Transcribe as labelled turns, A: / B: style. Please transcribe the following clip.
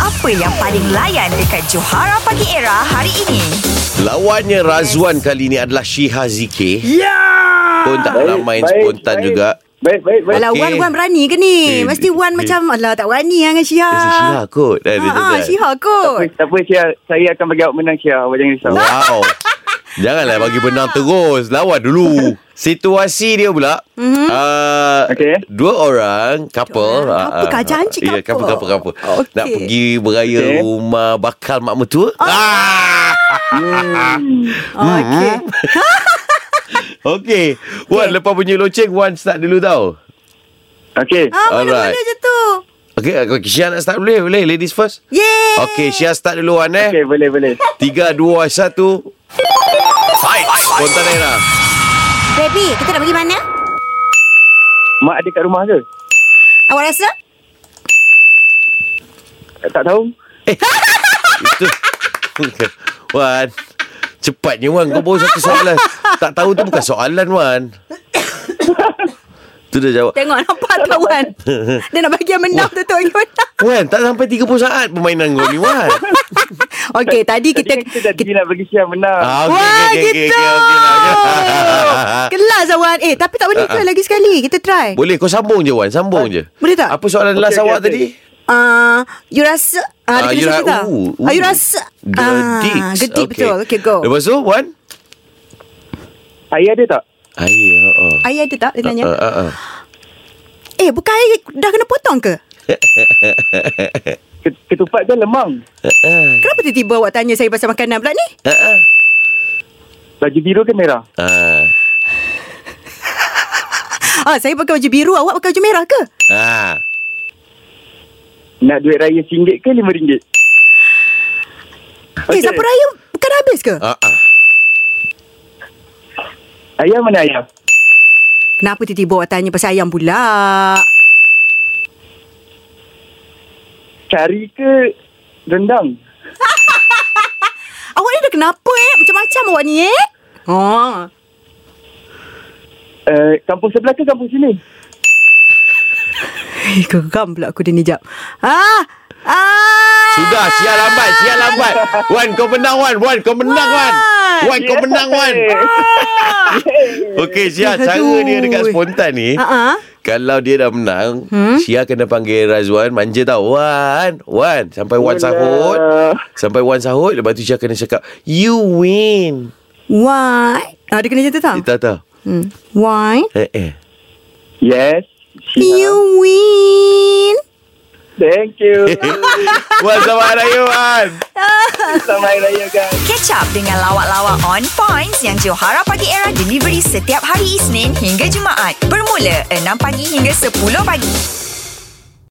A: Apa yang paling layan dekat Johara Pagi Era hari ini?
B: Lawannya Razwan kali ni adalah Syiha Zikir
C: Ya!
B: Pun tak pernah main
D: baik,
B: spontan
D: baik.
B: juga
D: Baik, baik, baik.
C: Alah,
B: Okey.
C: Wan Wan berani ke
B: Eh,
C: ni? Mesti
B: eh.
C: Wan macam, alah tak berani lah dengan
B: Dia Eh,
C: Syihah.
B: si Syiha kot eh, Dia
C: Ha,
B: macam
C: ha,
B: tu.
C: Syihah kot. Lah.
D: Tak apa, Syah. Saya akan bagi awak menang, Syah. Awak jangan risau.
B: Wow Janganlah bagi benang terus Lawan dulu Situasi dia pula mm-hmm. uh,
D: Okey.
B: Dua orang Couple
C: Mhm. Dua orang
B: ah, ah,
C: couple kah? Janji
B: Ya
C: couple.
B: couple couple, couple.
C: Okey.
B: Nak pergi beraya
D: Okey.
B: rumah Bakal mak mertua ah.
C: Ah,
B: Hmm, eh?
C: Okey.
B: Okey Wan lepas bunyi loceng Wan start dulu tau
D: Okey.
C: Ha, mana-mana
B: Alright.
C: je tu.
B: Okey okay, Syia nak start boleh Boleh ladies first
C: Yeay.
B: Okey Syia start dulu Wan eh
D: Okey, boleh, boleh.
B: Tiga, dua, satu Fight Spontan Era
C: Baby, kita nak pergi mana?
D: Mak ada kat rumah ke?
C: Awak rasa?
D: Tak tahu.
B: Itu Wan Cepatnya Wan Kau baru satu soalan Tak tahu tu bukan soalan Wan Tu dah jawab
C: Tengok nampak tak Wan? Dia nak bagi yang menang tu tu.
B: Wan tak sampai 30 saat Permainan kau ni Wan
C: Okey, tadi Eh, kita...
D: Tadi kan kita dah kita... nak bagi Syah menang.
B: Ah, okey,
C: Wah,
B: okey, okey,
C: gitu.
B: okey, okey, okey.
C: Kelas lah, Wan. Eh, tapi
B: Ah,
C: tak boleh try lagi sekali. Kita try.
B: Boleh kau sambung je Wan Sambung je
C: Ah, Boleh tak?
B: Apa soalan last
D: okey,
B: awak
D: okey.
B: tadi
C: Ah, you rasa... Ah,
B: Ah,
C: dia
B: ra-
C: kena sebut tak?
B: ooh,
C: Ah, you
B: ooh.
C: rasa...
B: The dicks.
C: Gedik
B: Okey.
C: Ah, betul. Okay, go.
B: Lepas tu Wan
D: Ayah ada tak?
B: Air oh.
C: Ayah ada tak? Dia tanya.
B: Ah, ah, ah.
C: Eh, bukan ayah dah kena potong ke?
B: Hmm.
D: Ke- Ketupat ke lemang?
C: Kenapa tiba-tiba awak tanya saya pasal makanan pula ni?
D: Baju biru ke merah?
B: Ah.
C: Ah, saya pakai baju biru, awak pakai baju merah ke? Eh,
B: Ah.
D: Nak duit raya RM1 ke RM5?
C: Okay. Eh, siapa raya bukan habis ke?
B: Ah. ah.
D: Ayah mana ayah?
C: Kenapa tiba-tiba awak tanya pasal ayam pula?
D: Kari ke rendang?
C: Awak ni dah kenapa eh? Macam-macam awak ni eh? Oh.
D: Uh, kampung sebelah ke kampung sini?
C: Eh, geram pula aku dia ni jap. Ah! Ah!
B: Sudah, siar lambat, siar lambat. Wan, kau menang, Wan. Wan, kau menang, Wan. Wan, Eh, kau menang, Wan.
C: Ah.
B: Okey, Syah,
C: Aduh.
B: cara dia dekat spontan ni.
C: Ah, Hmm? ah.
B: Kalau dia dah menang, Syah kena panggil Razwan. Manja tau. Wan, Wan. Sampai Wan
D: Alah.
B: sahut. Sampai Wan sahut. Lepas tu Syah kena cakap, you win.
C: Why? Ah, dia kena macam tu tau?
B: Dia tak tahu.
C: Hmm. Why?
B: Eh, eh.
D: Yes.
C: You win.
D: Thank you.
B: Wan, selamat raya, Wan.
D: Selamat Hari Raya, guys.
A: Catch up dengan lawak-lawak on points yang Johara Pagi Era delivery setiap hari Isnin hingga Jumaat. Bermula 6 pagi hingga 10 pagi.